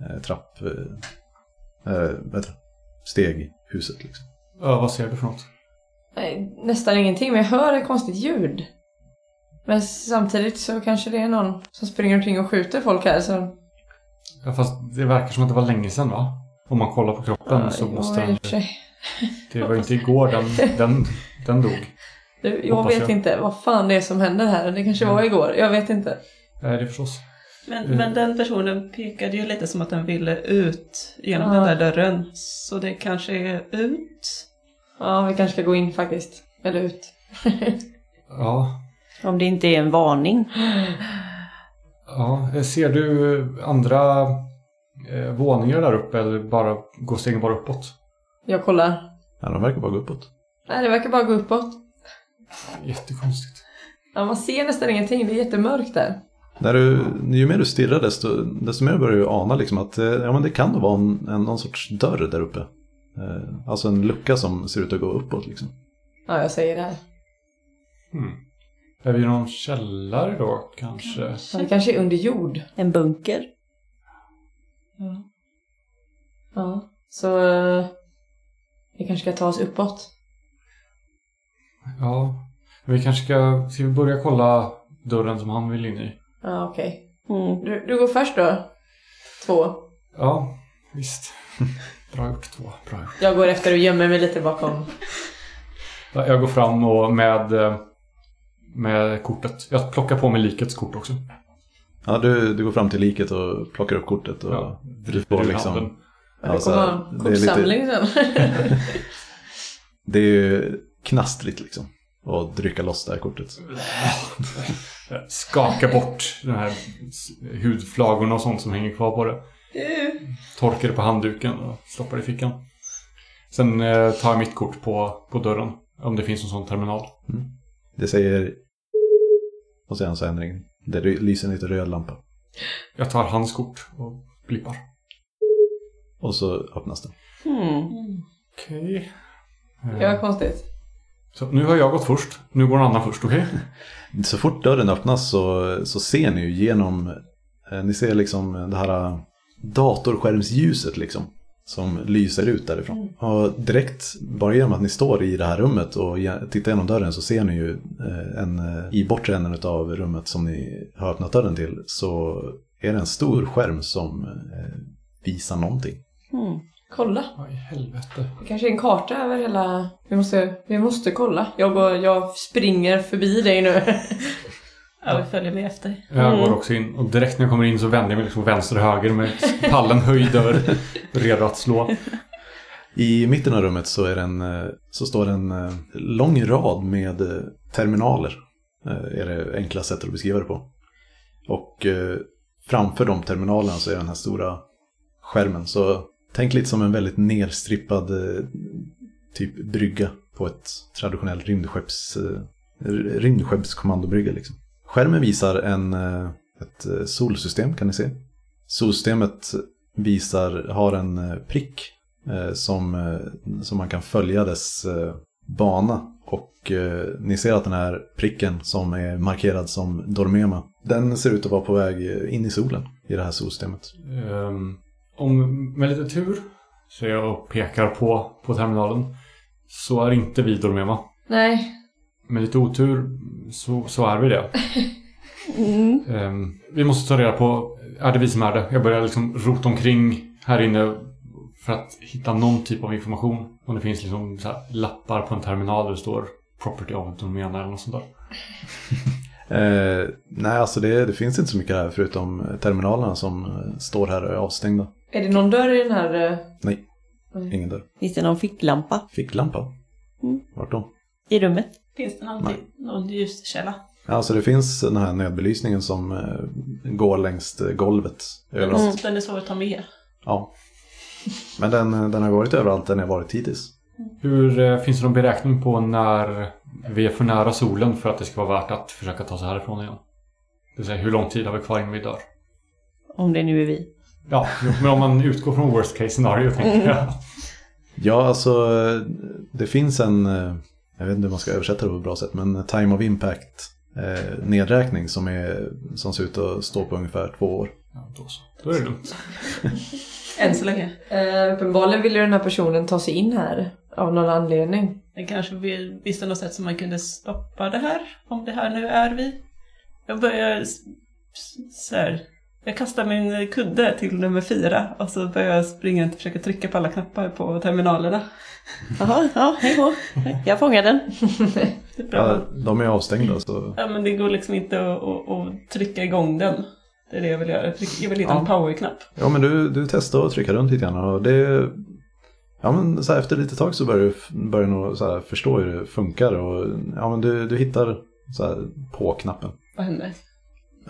Speaker 1: eh, trapp, eh, eh, vad heter det? Steghuset liksom.
Speaker 2: Ja, vad ser du för något?
Speaker 4: Nej, nästan ingenting. Men jag hör ett konstigt ljud. Men samtidigt så kanske det är någon som springer omkring och skjuter folk här. Så...
Speaker 2: Ja, fast det verkar som att det var länge sedan va? Om man kollar på kroppen så
Speaker 4: Ja,
Speaker 2: måste
Speaker 4: i och
Speaker 2: den...
Speaker 4: för sig.
Speaker 2: Det var ju inte igår den, den, den dog.
Speaker 4: Du, jag
Speaker 2: Hoppas
Speaker 4: vet
Speaker 2: jag. Mm.
Speaker 4: inte vad fan det är som händer här. Det kanske var igår. Jag vet inte.
Speaker 2: Nej, det förstås.
Speaker 3: Men,
Speaker 2: Mm.
Speaker 3: men den personen pekade ju lite som att den ville ut genom
Speaker 4: Ja.
Speaker 3: den där dörren. Så det kanske är ut.
Speaker 4: Ja, vi kanske ska gå in faktiskt. Eller ut.
Speaker 2: Ja.
Speaker 5: Om det inte är en varning.
Speaker 2: ja. Eh, Ser du andra eh, våningar där uppe eller bara går stegen bara uppåt?
Speaker 4: Jag kollar.
Speaker 1: Ja, de verkar bara gå uppåt.
Speaker 4: Nej, det verkar bara gå uppåt.
Speaker 2: Jättekonstigt.
Speaker 4: Ja, man ser nästan ingenting. Det är jättemörkt där.
Speaker 1: När du, ju mer du stirrar desto, desto mer börjar du ana liksom att eh, ja, men det kan nog vara en, en, någon sorts dörr där uppe. Eh, Alltså en lucka som ser ut att gå uppåt liksom.
Speaker 4: Ja, jag säger det här.
Speaker 2: Hmm. Är vi i någon källare då kanske?
Speaker 4: Ja, det kanske är under jord.
Speaker 5: En bunker.
Speaker 4: Ja. Ja, så... eh, Vi kanske ska ta oss uppåt.
Speaker 2: Ja. Vi kanske ska... Ska vi börja kolla dörren som han vill in i?
Speaker 4: Ja, okej.
Speaker 5: Mm.
Speaker 4: Du, du går först då. Två.
Speaker 2: Ja, visst. Bra gjort två. Bra gjort.
Speaker 4: Jag går efter och gömmer mig lite bakom.
Speaker 2: Ja, Jag går fram och med, eh, med kortet. Jag plockar på mig likets kort också.
Speaker 1: Ja, du, du går fram till liket och plockar upp kortet. Och, ja.
Speaker 2: Ja, Vrider ur
Speaker 1: liksom-
Speaker 2: handen.
Speaker 4: Det
Speaker 1: så
Speaker 4: kommer
Speaker 1: här,
Speaker 4: vara en
Speaker 1: det, är lite,
Speaker 4: kortsamling sen.
Speaker 1: det är ju knastrigt liksom. Och drycka loss det här kortet.
Speaker 2: Skaka bort den här s- hudflagorna och sånt som hänger kvar på det. Torkar det på handduken och stoppar det i fickan. Sen eh, tar jag mitt kort på, på dörren. Om det finns någon sån terminal.
Speaker 1: Det säger... Och sen så ändring. Det ry- lyser en liten röd lampa.
Speaker 2: Jag tar hans kort och blippar.
Speaker 1: Och så öppnas den.
Speaker 5: Mm.
Speaker 2: Okej. Eh,
Speaker 4: Det
Speaker 1: Mm.
Speaker 4: var konstigt.
Speaker 2: Så nu har jag gått först. Nu går någon annan först, okej?
Speaker 1: Så fort dörren öppnas så, så ser ni ju genom, eh, ni ser liksom det här eh, datorskärmsljuset liksom. Som lyser ut därifrån. Och direkt, bara genom att ni står i det här rummet och ge- tittar genom dörren så ser ni ju eh, en, eh, i bortre änden av rummet som ni har öppnat dörren till så är det en stor skärm som eh, visar någonting.
Speaker 5: Mm.
Speaker 4: Kolla.
Speaker 2: Vad i helvete.
Speaker 4: Det kanske är en karta över hela... Vi måste, vi måste kolla. Jag, går, jag springer förbi dig nu.
Speaker 3: Ja, vi följer med efter.
Speaker 2: Jag går också in och direkt när jag kommer in så vänder jag mig liksom vänster och höger med pallen höjd över. Redo att slå.
Speaker 1: I mitten av rummet så, är det en, eh, så står det en eh, lång rad med eh, terminaler. eh, Är det enkla sättet att beskriva det på. Och eh, framför de terminalerna så är den här stora skärmen. Så tänk lite som en väldigt nerstrippad eh, typ brygga på ett traditionellt rymdskepps, eh, r- rymdskeppskommandobrygga. Liksom. Skärmen visar en, eh, ett eh, solsystem kan ni se. Solsystemet visar, har en eh, prick eh, som, eh, som man kan följa dess eh, bana. Och eh, ni ser att den här pricken som är markerad som Dormema, den ser ut att vara på väg eh, in i solen i det här solsystemet.
Speaker 2: Ehm, om, med lite tur, så jag pekar på, på terminalen, så är inte vi Dormema.
Speaker 4: Nej,
Speaker 2: Med lite otur så, så är vi det.
Speaker 5: Mm.
Speaker 2: Ehm, vi måste ta reda på, är det vi som är det? Jag börjar liksom rota omkring här inne för att hitta någon typ av information. Om det finns liksom så här lappar på en terminal där det står “Property of Domena” eller något sånt där.
Speaker 1: Eh, nej, alltså det, det finns inte så mycket här förutom terminalerna som eh, står här och är avstängda.
Speaker 4: är det någon dörr i den här? eh,
Speaker 1: Nej,
Speaker 4: Nej.
Speaker 1: ingen dörr.
Speaker 5: Finns det någon ficklampa
Speaker 1: Ficklampa?
Speaker 5: Mm.
Speaker 1: Vart då?
Speaker 5: i rummet?
Speaker 3: Finns det någon, någon ljuskälla?
Speaker 1: Ja, Alltså det finns den här nödbelysningen som eh, går längs eh, golvet överallt.
Speaker 3: Typ Den är svår att ta med.
Speaker 1: Ja. Men den, eh, den har varit överallt där den har varit hittills.
Speaker 2: Hur eh, finns det någon beräkning på när vi är för nära solen för att det ska vara värt att försöka ta sig härifrån igen? Det vill säga, hur lång tid har vi kvar innan vi dör?
Speaker 5: Om det nu är vi.
Speaker 2: Ja, jo, men om man utgår från worst case scenario tänker jag.
Speaker 1: Ja, alltså eh, det finns en, eh, jag vet inte hur man ska översätta det på ett bra sätt, men time of impact eh, nedräkning som, är, som ser ut att stå på ungefär två år.
Speaker 2: Ja, då så. Då är det lugnt.
Speaker 3: Än så länge.
Speaker 4: Eh, uppenbarligen ville den här personen ta sig in här av någon anledning.
Speaker 3: Den kanske vill- visste något sätt som man kunde stoppa det här, om det här nu är vi. Jag börjar s- s- så här. Jag kastar min kudde till nummer fyra och så börjar jag springa och försöka trycka på alla knappar på terminalerna.
Speaker 5: Jaha, ja, hej då. Jag fångar den.
Speaker 3: Det är bra.
Speaker 1: Ja, de är avstängda så
Speaker 3: Ja, men det går liksom inte att, att, att trycka igång den. Det är det jag vill göra. Tryck- Jag vill hitta en powerknapp.
Speaker 1: Ja men du, du testar att trycka runt lite grann och det... Ja men så här, efter lite tag så börjar du börjar du nog så här, förstå hur det funkar och ja men du, du hittar så här, på knappen.
Speaker 3: Vad händer?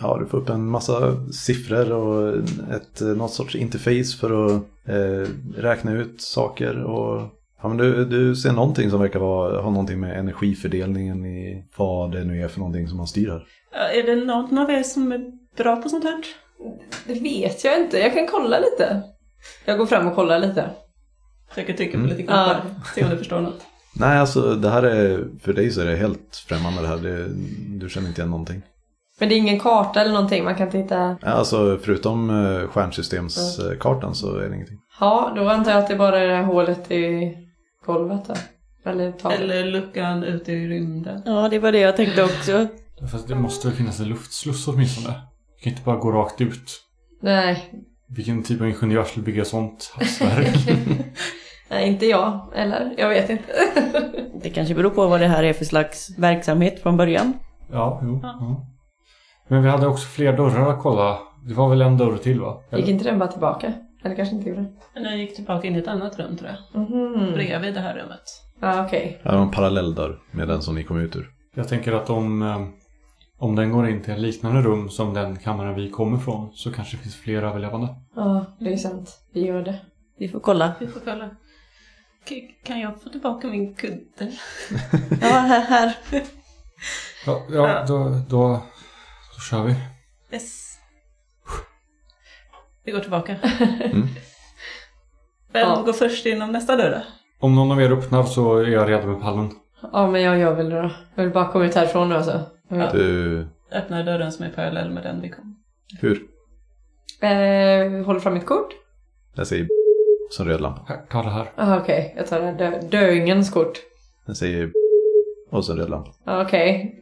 Speaker 1: Ja, du får upp en massa siffror och ett, något sorts interface för att eh, räkna ut saker. Och, ja, men du, du ser någonting som verkar vara, ha någonting med energifördelningen i vad det nu är för någonting som man styr här.
Speaker 3: Ja, Är det någon av er som är bra på sånt här?
Speaker 4: Det vet jag inte, jag kan kolla lite. Jag går fram och kollar lite.
Speaker 3: Försöker trycka på
Speaker 1: Mm.
Speaker 3: lite knappar. Se om du förstår något.
Speaker 1: Nej, alltså det här är, för dig så är det helt främmande det här. Det, du känner inte igen någonting.
Speaker 4: Men det är ingen karta eller någonting, man kan inte hitta...
Speaker 1: Ja, Alltså förutom eh, stjärnsystemskartan så är det ingenting.
Speaker 4: Ja, då antar jag att det bara är det här hålet i golvet då. Eller taket.
Speaker 3: Eller luckan ute i rymden.
Speaker 5: Ja, det var det jag tänkte också.
Speaker 2: Fast det måste väl finnas en luftsluss åtminstone? Vi kan inte bara gå rakt ut.
Speaker 4: Nej.
Speaker 2: Vilken typ av ingenjör skulle bygga sånt hafsverk?
Speaker 4: Nej, inte jag. Eller? Jag vet inte.
Speaker 5: Det kanske beror på vad det här är för slags verksamhet från början.
Speaker 2: ja, jo. Ja. Men vi hade också fler dörrar att kolla. Det var väl en dörr till va? Eller?
Speaker 4: Gick inte den bara tillbaka? Eller kanske inte gjorde den?
Speaker 3: Men jag gick tillbaka in i ett annat rum tror jag.
Speaker 4: Mhm.
Speaker 3: Bredvid det här rummet.
Speaker 4: Ja, okej.
Speaker 1: Här har en parallell dörr med den som ni kom ut ur.
Speaker 2: Jag tänker att om, eh, om den går in till en liknande rum som den kammaren vi kommer från så kanske det finns fler överlevande.
Speaker 4: Ja, det är sant. Vi gör det.
Speaker 5: Vi får kolla.
Speaker 3: Vi får kolla. K- Kan jag få tillbaka min kudde?
Speaker 5: Ja, här, här.
Speaker 2: Ja, ja då, då, då kör vi.
Speaker 3: Yes. Vi går tillbaka.
Speaker 1: Mm.
Speaker 3: Vem
Speaker 4: Ja.
Speaker 3: går först inom nästa dörr då?
Speaker 2: Om någon av er öppnar så är jag redo med pallen.
Speaker 4: Ja, men jag gör väl det då. Jag vill bara komma ut härifrån nu alltså.
Speaker 3: Ja.
Speaker 1: Du,
Speaker 3: Öppnar dörren som är parallell med den vi kom.
Speaker 1: hur?
Speaker 4: Eh, håller fram mitt kort.
Speaker 1: Den säger som röd lampa.
Speaker 2: Här, ta det här.
Speaker 4: Ah, okej. Jag tar det här dö- döingens kort.
Speaker 1: Den säger och så en röd lampa.
Speaker 4: Ja, okej.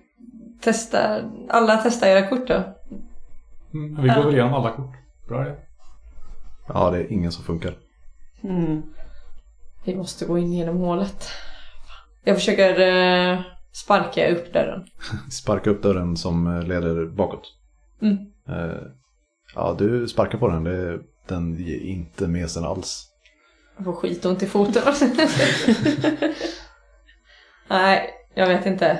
Speaker 4: Testa. Alla testar era kort då.
Speaker 2: Mm, vi går väl igenom alla kort. Bra det.
Speaker 1: Ja, det är ingen som funkar.
Speaker 5: Mm.
Speaker 4: Vi måste gå in genom hålet. Jag försöker eh, sparka upp dörren.
Speaker 1: Sparka upp dörren som eh, leder bakåt.
Speaker 4: Mm.
Speaker 1: Eh, Ja, du sparkar på den. Det, den ger inte med sig alls.
Speaker 4: Jag får skitont i foten. Nej, jag vet inte.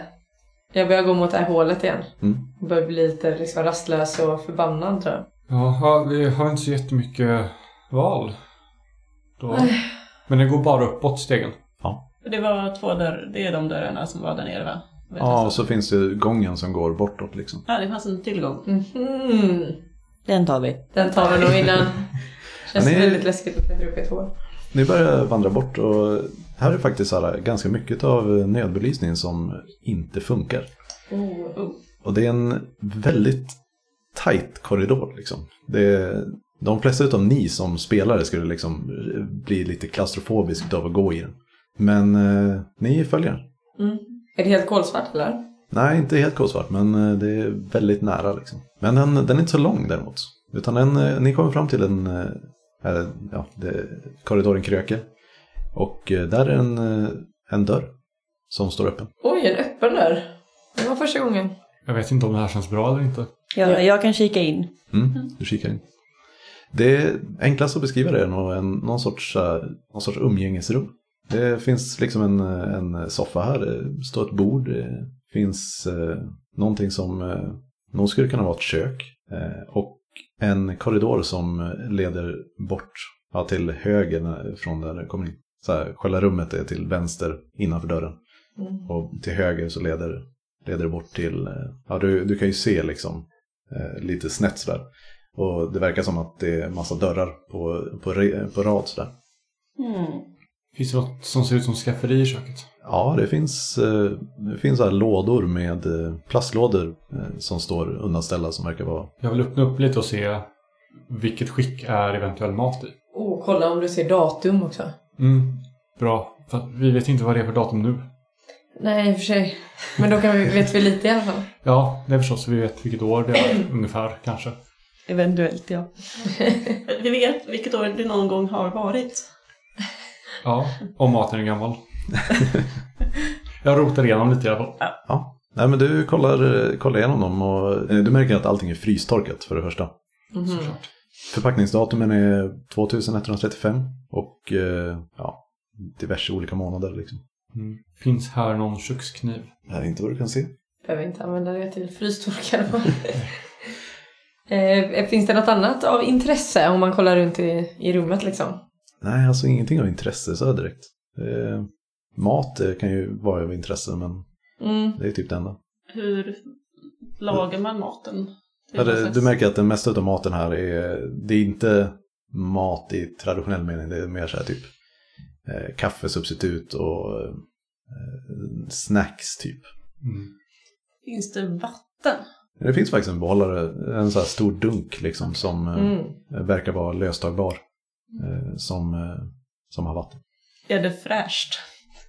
Speaker 4: Jag börjar gå mot det här hålet igen.
Speaker 1: Mm.
Speaker 4: Jag börjar bli lite liksom, rastlös och förbannad tror jag.
Speaker 2: Jaha, vi har inte så jättemycket val. Då. Men det går bara uppåt stegen.
Speaker 3: Det var två dörrar, det är de dörrarna som var där nere va? Vet
Speaker 1: Ja,
Speaker 3: jag
Speaker 1: och
Speaker 3: så.
Speaker 1: så finns det gången som går bortåt liksom.
Speaker 3: Ja, det fanns en tillgång.
Speaker 4: Mhm.
Speaker 5: Den tar vi.
Speaker 4: Den tar vi nog innan. Känns
Speaker 1: Ja, ni-
Speaker 4: väldigt läskigt att klättra upp i ett hål.
Speaker 1: Ni börjar vandra bort och här är faktiskt så här, eh, ganska mycket av nödbelysningen som inte funkar.
Speaker 3: Oh.
Speaker 1: Och det är en väldigt tight korridor liksom. Det är, de flesta utav ni som spelare skulle liksom bli lite klaustrofobiskt av att gå i den. Men eh, ni följer den.
Speaker 4: Mm. Är det helt kolsvart eller?
Speaker 1: Nej, inte helt kolsvart, men eh, det är väldigt nära liksom. Men den, den är inte så lång däremot. Utan den, eh, ni kommer fram till en, eh, eh, ja, det, korridoren kröker. Och eh, där är en, eh, en dörr som står öppen.
Speaker 4: Oj, en öppen dörr. Det var första gången.
Speaker 2: Jag vet inte om det här känns bra eller inte.
Speaker 5: Jag, jag kan kika in.
Speaker 1: Mm, du kikar in. Det enklaste att beskriva det är nog en, någon, sorts, eh, någon sorts umgängesrum. Det finns liksom en, eh, en soffa här, det står ett bord, det finns eh, någonting som eh, nog skulle kunna vara ett kök eh, och en korridor som leder bort, ja, till höger när- från där det kommer in. Så här, själva rummet är till vänster innanför dörren
Speaker 4: Mm.
Speaker 1: och till höger så leder, leder det bort till, eh, ja du, du kan ju se liksom eh, lite snett sådär. Och det verkar som att det är massa dörrar på, på, re- på rad sådär.
Speaker 2: Finns det något som ser ut som skafferi i köket?
Speaker 1: Ja, det finns, eh, det finns så här lådor med eh, plastlådor eh, som står undanställda som verkar vara...
Speaker 2: Jag vill öppna upp lite och se vilket skick är eventuell mat i.
Speaker 4: Oh, kolla om du ser datum också.
Speaker 2: Mm, bra. För att vi vet inte vad det är för datum nu.
Speaker 4: Nej, i och för sig. Men då kan vi, vet vi lite i alla fall.
Speaker 2: Ja, det är förstås. Vi vet vilket år det är ungefär kanske.
Speaker 5: Eventuellt ja.
Speaker 3: Vi vet vilket år det någon gång har varit.
Speaker 2: Ja, om maten är gammal. Jag rotar igenom lite i alla fall.
Speaker 1: Ja. Nej men du kollar, eh, kollar igenom dem och eh, du märker att allting är frystorkat för det första.
Speaker 4: Mhm.
Speaker 2: Såklart.
Speaker 1: Förpackningsdatumen är 2135 och eh, ja, diverse olika månader liksom.
Speaker 2: Mm. Finns här någon kökskniv?
Speaker 1: Det här är inte vad du kan se.
Speaker 4: Behöver inte använda det till frystorkar. eh, finns det något annat av intresse om man kollar runt i, i rummet liksom?
Speaker 1: Nej, alltså ingenting av intresse så här direkt. Eh, mat eh, kan ju vara av intresse, men
Speaker 4: Mm.
Speaker 1: det är typ det enda.
Speaker 3: Hur lagar man maten?
Speaker 1: Ja, det,
Speaker 3: Slags-
Speaker 1: du märker att den mesta av maten här är, det är inte mat i traditionell mening, det är mer så här typ eh, kaffesubstitut och eh, snacks typ.
Speaker 2: Mm.
Speaker 3: Finns det vatten?
Speaker 1: Men Det finns faktiskt en behållare, en så här stor dunk liksom som eh,
Speaker 4: Mm.
Speaker 1: verkar vara löstagbar. Eh, som, eh, som har vatten.
Speaker 3: Är det fräscht?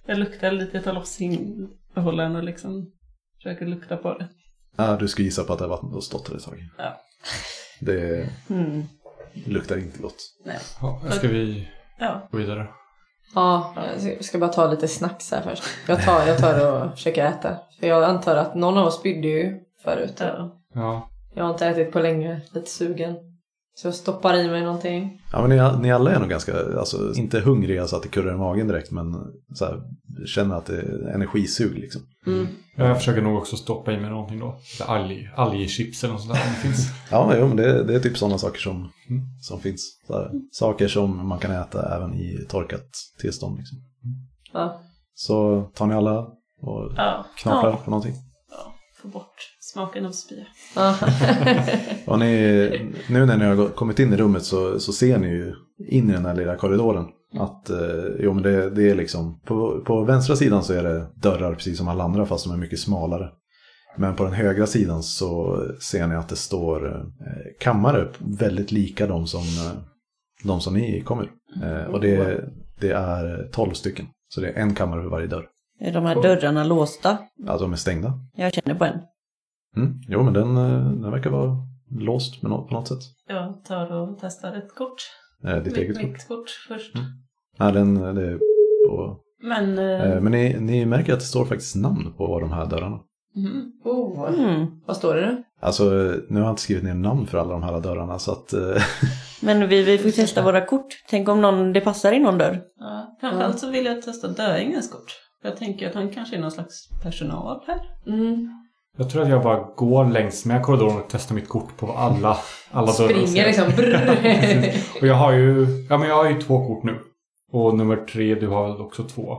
Speaker 3: Jag luktar lite, jag tar loss behållaren och liksom försöker lukta på det.
Speaker 1: Ah, du ska gissa på att det här vattnet har stått där ett tag.
Speaker 3: Ja.
Speaker 1: Det
Speaker 5: Mm.
Speaker 1: luktar inte gott.
Speaker 2: Ja, ska vi
Speaker 3: Ja,
Speaker 2: gå vidare?
Speaker 4: Ja, jag ska bara ta lite snacks här först. Jag tar, jag tar och försöker äta. För jag antar att någon av oss spydde ju förut.
Speaker 3: ja.
Speaker 2: Ja.
Speaker 4: Jag har inte ätit på länge, lite sugen. Så jag stoppar i mig någonting.
Speaker 1: Ja, men ni, ni alla är nog ganska, alltså inte hungriga så att det kurrar i magen direkt men så här, känner att det är energisug liksom.
Speaker 2: Jag försöker nog också stoppa i mig någonting då. Lite Alg, algchips eller något sånt där om det finns.
Speaker 1: Ja, men, jo, men det, det är typ sådana saker som, som finns. Så här, saker som man kan äta även i torkat tillstånd. Liksom.
Speaker 4: Ja.
Speaker 1: Så tar ni alla och
Speaker 3: ja.
Speaker 1: knaprar
Speaker 3: Ja,
Speaker 1: på någonting.
Speaker 3: ja. Få bort smaken av spya.
Speaker 4: Ja.
Speaker 1: Och ni, nu när ni har gått- kommit in i rummet så, så ser ni ju in i den här lilla korridoren. Att, eh, jo men det, det är liksom, på, på vänstra sidan så är det dörrar precis som alla andra fast de är mycket smalare. Men på den högra sidan så ser ni att det står eh, kammare väldigt lika de som, eh, de som ni kommer. Eh, och det, det är tolv stycken. Så det är en kammare för varje dörr.
Speaker 5: Är de här dörrarna låsta?
Speaker 1: Alltså de är stängda.
Speaker 5: Jag känner på en.
Speaker 1: Mm. Jo men den, eh, den verkar vara låst på något, på något sätt.
Speaker 3: Jag tar och testar ett kort.
Speaker 1: Eh, ditt eget kort. Mm.
Speaker 3: Mitt kort först.
Speaker 1: Nej, den, det är på.
Speaker 3: Men, eh,
Speaker 1: Eh, Men ni, ni märker att det står faktiskt namn på de här dörrarna.
Speaker 3: Mhm.
Speaker 4: Oh,
Speaker 5: Mm.
Speaker 4: Vad står det nu?
Speaker 1: Alltså, nu har jag inte skrivit ner namn för alla de här dörrarna så att... eh,
Speaker 5: Men vi, vi får testa våra kort. Tänk om någon, det passar i någon dörr.
Speaker 3: Ja, framförallt så vill jag testa Döingens kort. Jag tänker att han kanske är någon slags personal här.
Speaker 4: Mm.
Speaker 2: Jag tror att jag bara går längs med korridoren och testar mitt kort på alla, alla dörrar.
Speaker 4: Springer liksom. Brr.
Speaker 2: Och jag har ju, ja men jag har ju två kort nu. Och nummer tre, du har väl också två?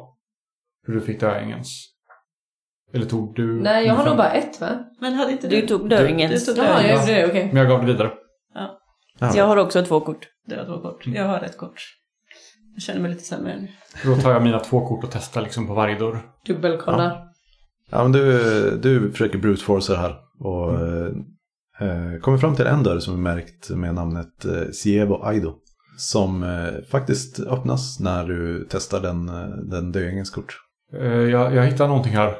Speaker 2: För du fick döingens. Eller tog du?
Speaker 4: Nej, jag har
Speaker 2: nummer
Speaker 4: nog
Speaker 2: fem?
Speaker 4: bara ett va?
Speaker 3: Men hade inte
Speaker 5: Du
Speaker 3: du,
Speaker 5: tog
Speaker 3: du
Speaker 5: dörringens.
Speaker 3: tog
Speaker 4: Ja, jag
Speaker 3: Döingens?
Speaker 4: gjorde det, okej.
Speaker 2: Men jag gav det vidare.
Speaker 1: ja.
Speaker 5: Jag har också två kort.
Speaker 3: Du har två kort.
Speaker 1: Mm.
Speaker 3: Jag har ett kort. Jag känner mig lite sämre nu.
Speaker 2: Då tar jag mina två kort och testar liksom på varje dörr.
Speaker 4: Dubbelkollar.
Speaker 1: Ja, men du, du försöker brute force det här och eh, eh, kommer fram till en dörr som är märkt med namnet eh, Sievo Aido. Som eh, faktiskt öppnas när du testar den, eh, den döingens kort.
Speaker 2: Eh, Jag, jag hittar någonting här.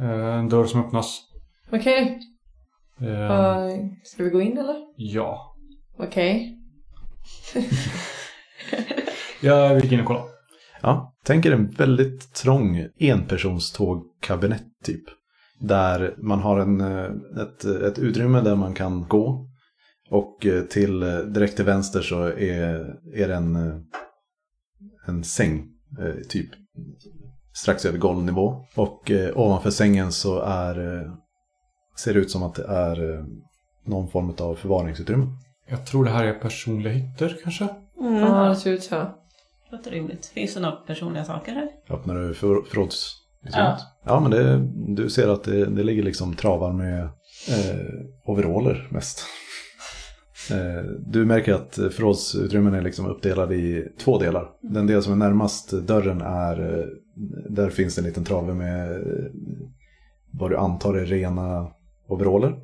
Speaker 2: Eh, En dörr som öppnas.
Speaker 4: Okej,
Speaker 2: Eh,
Speaker 4: vad- ska vi gå in eller?
Speaker 2: Ja.
Speaker 4: Okej.
Speaker 2: Jag gick in och kollade.
Speaker 1: Ja, tänk er en väldigt trång enpersonstågkabinett typ. Där man har en, eh, ett, ett utrymme där man kan gå. Och eh, till, eh, direkt till vänster så är, är det en, eh, en säng. eh, Typ strax över golvnivå. Och eh, ovanför sängen så är, eh, ser det ut som att det är eh, någon form av förvaringsutrymme.
Speaker 2: Jag tror det här är personliga hytter kanske?
Speaker 5: Mm.
Speaker 4: Ja, det ser ut så.
Speaker 3: Låter rimligt. Finns det några personliga saker här?
Speaker 1: Öppnar du för, förråds? Ja. ja, men det, du ser att det, det ligger liksom travar med eh, overaller mest. Eh, du märker att förrådsutrymmen är liksom uppdelade i två delar. Den del som är närmast dörren är, eh, där finns en liten trave med eh, vad du antar är rena overaller.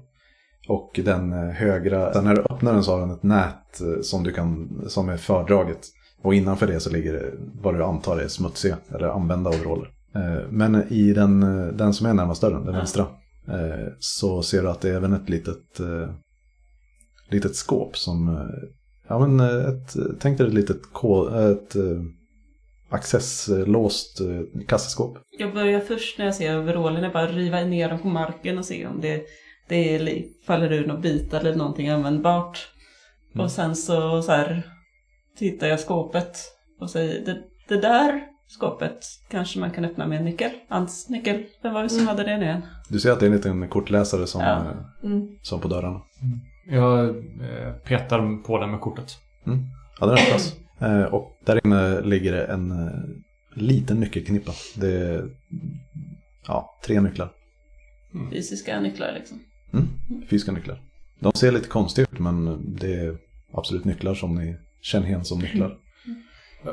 Speaker 1: Och den eh, högra, sen när du öppnar den så har den ett nät eh, som, du kan, som är fördraget. Och innanför det så ligger det vad du antar är smutsiga eller använda overaller. Eh, Men i den, eh, den som är närmast dörren, den vänstra, eh, så ser du att det är även ett litet, eh, litet skåp som... eh, Ja, men eh, ett, tänk dig ett litet ko- ett eh, accesslåst eh, kassaskåp.
Speaker 3: Jag börjar först när jag ser overallerna bara riva ner dem på marken och se om det, det är, li- faller ur någon bit eller någonting användbart. Och sen så, så här, tittar jag i skåpet och säger det, det där skåpet kanske man kan öppna med en nyckel. Hans nyckel. Vem var det som hade det nu igen?
Speaker 1: Du ser att det är en liten kortläsare som,
Speaker 3: Ja.
Speaker 1: eh,
Speaker 4: Mm.
Speaker 1: som på dörrarna.
Speaker 2: Jag eh, petar på den med kortet.
Speaker 1: Ja, den öppnas. Eh, Och där inne ligger det en eh, liten nyckelknippa. Det är ja, tre nycklar.
Speaker 3: Fysiska nycklar liksom.
Speaker 1: Mm. Fysiska nycklar. De ser lite konstiga ut men det är absolut nycklar som ni känner igen som nycklar.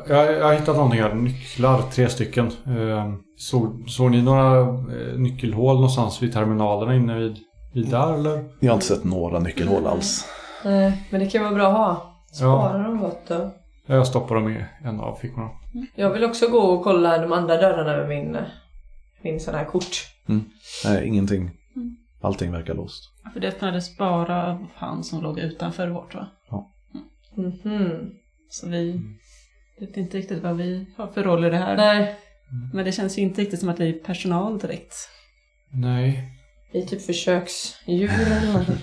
Speaker 2: Jag, jag har hittat någonting här. Nycklar, tre stycken. Eh, såg, såg ni några eh, nyckelhål någonstans vid terminalerna inne vid, vid där eller?
Speaker 1: Ni har inte sett några nyckelhål alls.
Speaker 4: Nej, Eh, men det kan vara bra att ha. Spara dem gott då.
Speaker 2: Jag stoppar dem i en av fickorna.
Speaker 4: Jag vill också gå och kolla de andra dörrarna med min, min sån här kort.
Speaker 1: Nej, ingenting. Allting verkar låst.
Speaker 3: För det öppnades bara av han som låg utanför vårt va?
Speaker 4: Mhm.
Speaker 3: Så vi vet inte riktigt vad vi har för roll i det här.
Speaker 4: Nej,
Speaker 3: Men det känns ju inte riktigt som att vi är personal direkt.
Speaker 2: Nej.
Speaker 4: vi är typ försöksdjur eller någonting.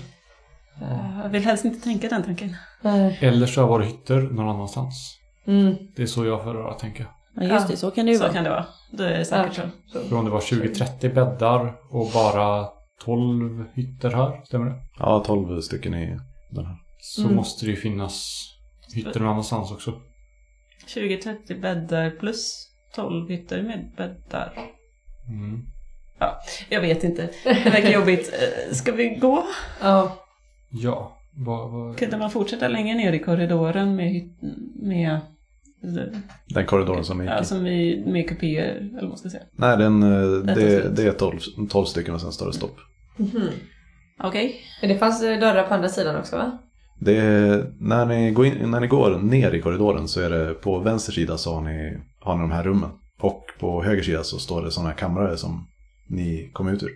Speaker 3: Jag vill helst inte tänka den tanken.
Speaker 4: Nej.
Speaker 2: Eller så var det hytter någon annanstans.
Speaker 4: Mm.
Speaker 2: Det är så jag föredrar att tänka.
Speaker 5: Ja, just det, så kan det ju
Speaker 3: Så
Speaker 5: vara.
Speaker 3: kan det vara. Det är säkert så.
Speaker 2: För om det var 20-30 bäddar och bara 12 hytter här, stämmer det?
Speaker 1: Ja, tolv stycken i den här.
Speaker 2: Så
Speaker 4: Mm.
Speaker 2: måste det ju finnas hytter någon annanstans också.
Speaker 3: 20-30 bäddar plus 12 hytter med bäddar.
Speaker 2: Mm.
Speaker 3: Jag vet inte. Det verkar jobbigt. Eh, Ska vi gå?
Speaker 4: Ja.
Speaker 2: Ja. Vad, vad...
Speaker 3: Kunde man fortsätta längre ner i korridoren med, hytt- med,
Speaker 1: Den korridoren som vi gick i.
Speaker 3: ja, alltså. som vi, med kupéer, eller vad man ska säga.
Speaker 1: Nej, den, eh,
Speaker 3: tar
Speaker 1: det,
Speaker 3: slut.
Speaker 1: det är tolv, tolv stycken och sen står det stopp.
Speaker 4: Mhm.
Speaker 3: Okej.
Speaker 4: Men det fanns eh, dörrar på andra sidan också va?
Speaker 1: Det är, när, ni går in, när ni går ner i korridoren så är det på vänster sida så har ni, har ni de här rummen. Och på höger sida så står det sådana här kamrar som ni kom ut ur.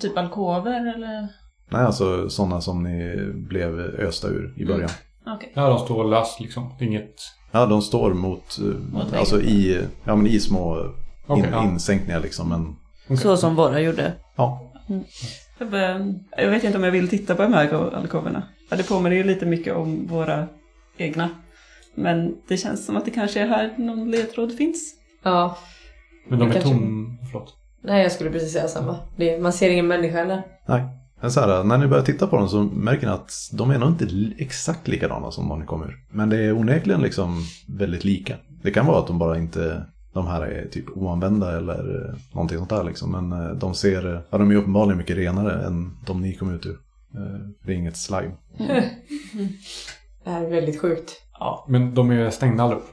Speaker 3: Typ alkover eller?
Speaker 1: Nej, alltså sådana som ni blev östa ur i början.
Speaker 3: Okej.
Speaker 2: Ja, de står löst liksom. Det är inget...
Speaker 1: Ja, de står mot, eh,
Speaker 3: väggen.
Speaker 1: alltså i, ja, men i små
Speaker 2: Okej,
Speaker 1: in,
Speaker 2: ja.
Speaker 1: insänkningar liksom. Men
Speaker 5: Så som våra gjorde.
Speaker 1: ja,
Speaker 3: Jag bara- Jag vet inte om jag vill titta på de här ko- alkoverna. Ja, det påminner ju lite mycket om våra egna. Men det känns som att det kanske är här någon ledtråd finns.
Speaker 4: Ja.
Speaker 2: Men de är
Speaker 4: Kanske.
Speaker 2: tom... Förlåt.
Speaker 4: Nej, jag skulle precis säga samma. Det, man ser ingen människa heller.
Speaker 1: Nej. Men så här, när ni börjar titta på dem så märker ni att de är nog inte li- exakt likadana som de ni kom ur. Men det är onekligen liksom väldigt lika. Det kan vara att de bara inte, de här är typ oanvända eller eh, någonting sånt där liksom. Men eh, de ser, eh, ja de är uppenbarligen mycket renare än de ni kom ut ur. Eh, Det är inget slime.
Speaker 4: Det här är väldigt sjukt.
Speaker 3: Ja,
Speaker 2: Men de är stängda allihop.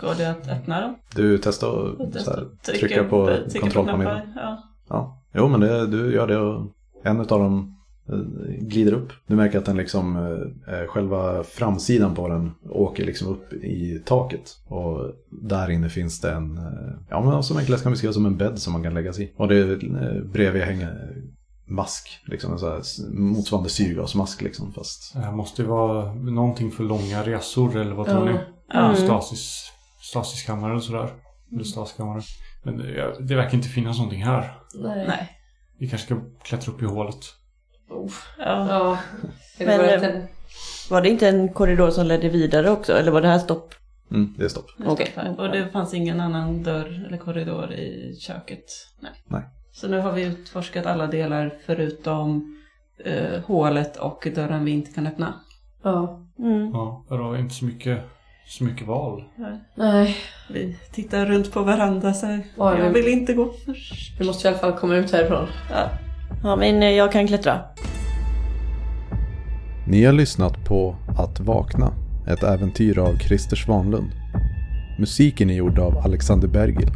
Speaker 3: går det att öppna dem?
Speaker 1: Du testar att så här, trycka på
Speaker 3: trycka
Speaker 1: kontrollpanelen.
Speaker 3: knappar, Ja.
Speaker 1: Ja. Jo, men det, du gör det och en av dem eh, glider upp. Du märker att den liksom, eh, eh, själva framsidan på den åker liksom upp i taket. Och där inne finns det en, eh, ja men som enklast kan beskriva som en bädd som man kan lägga sig i. Och det eh, bredvid hänger mask, liksom en så här s- motsvarande syrgasmask liksom fast.
Speaker 2: Det här Eh, måste ju vara någonting för långa resor eller vad tror ni?
Speaker 3: Ja.
Speaker 2: Stasis, stasiskammare och sådär. Eller staskammare. Men eh, ja, det verkar inte finnas någonting här.
Speaker 4: Nej.
Speaker 3: Nej.
Speaker 2: Vi kanske ska klättra upp i hålet.
Speaker 3: Ja.
Speaker 4: Ja. Är det
Speaker 5: Men,
Speaker 4: bara
Speaker 5: eh,
Speaker 4: att den-
Speaker 5: Var det inte en korridor som ledde vidare också? Eller var det här stopp?
Speaker 1: Mm, det är stopp.
Speaker 5: Okej.
Speaker 3: Och det fanns ingen annan dörr eller korridor i köket. Nej.
Speaker 1: Nej.
Speaker 3: Så nu har vi utforskat alla delar förutom eh, hålet och dörren vi inte kan öppna.
Speaker 4: Ja.
Speaker 5: Mm.
Speaker 2: Ja, det var inte så mycket, så mycket val.
Speaker 4: Nej.
Speaker 3: Vi tittar runt på varandra så här.
Speaker 4: Ja,
Speaker 3: Jag
Speaker 4: men-
Speaker 3: vill inte gå först.
Speaker 4: Vi måste i alla fall komma ut härifrån.
Speaker 3: Ja.
Speaker 5: Ja, men eh, jag kan klättra.
Speaker 1: Ni har lyssnat på Att vakna, ett äventyr av Christer Svanlund. Musiken är gjord av Alexander Bergil.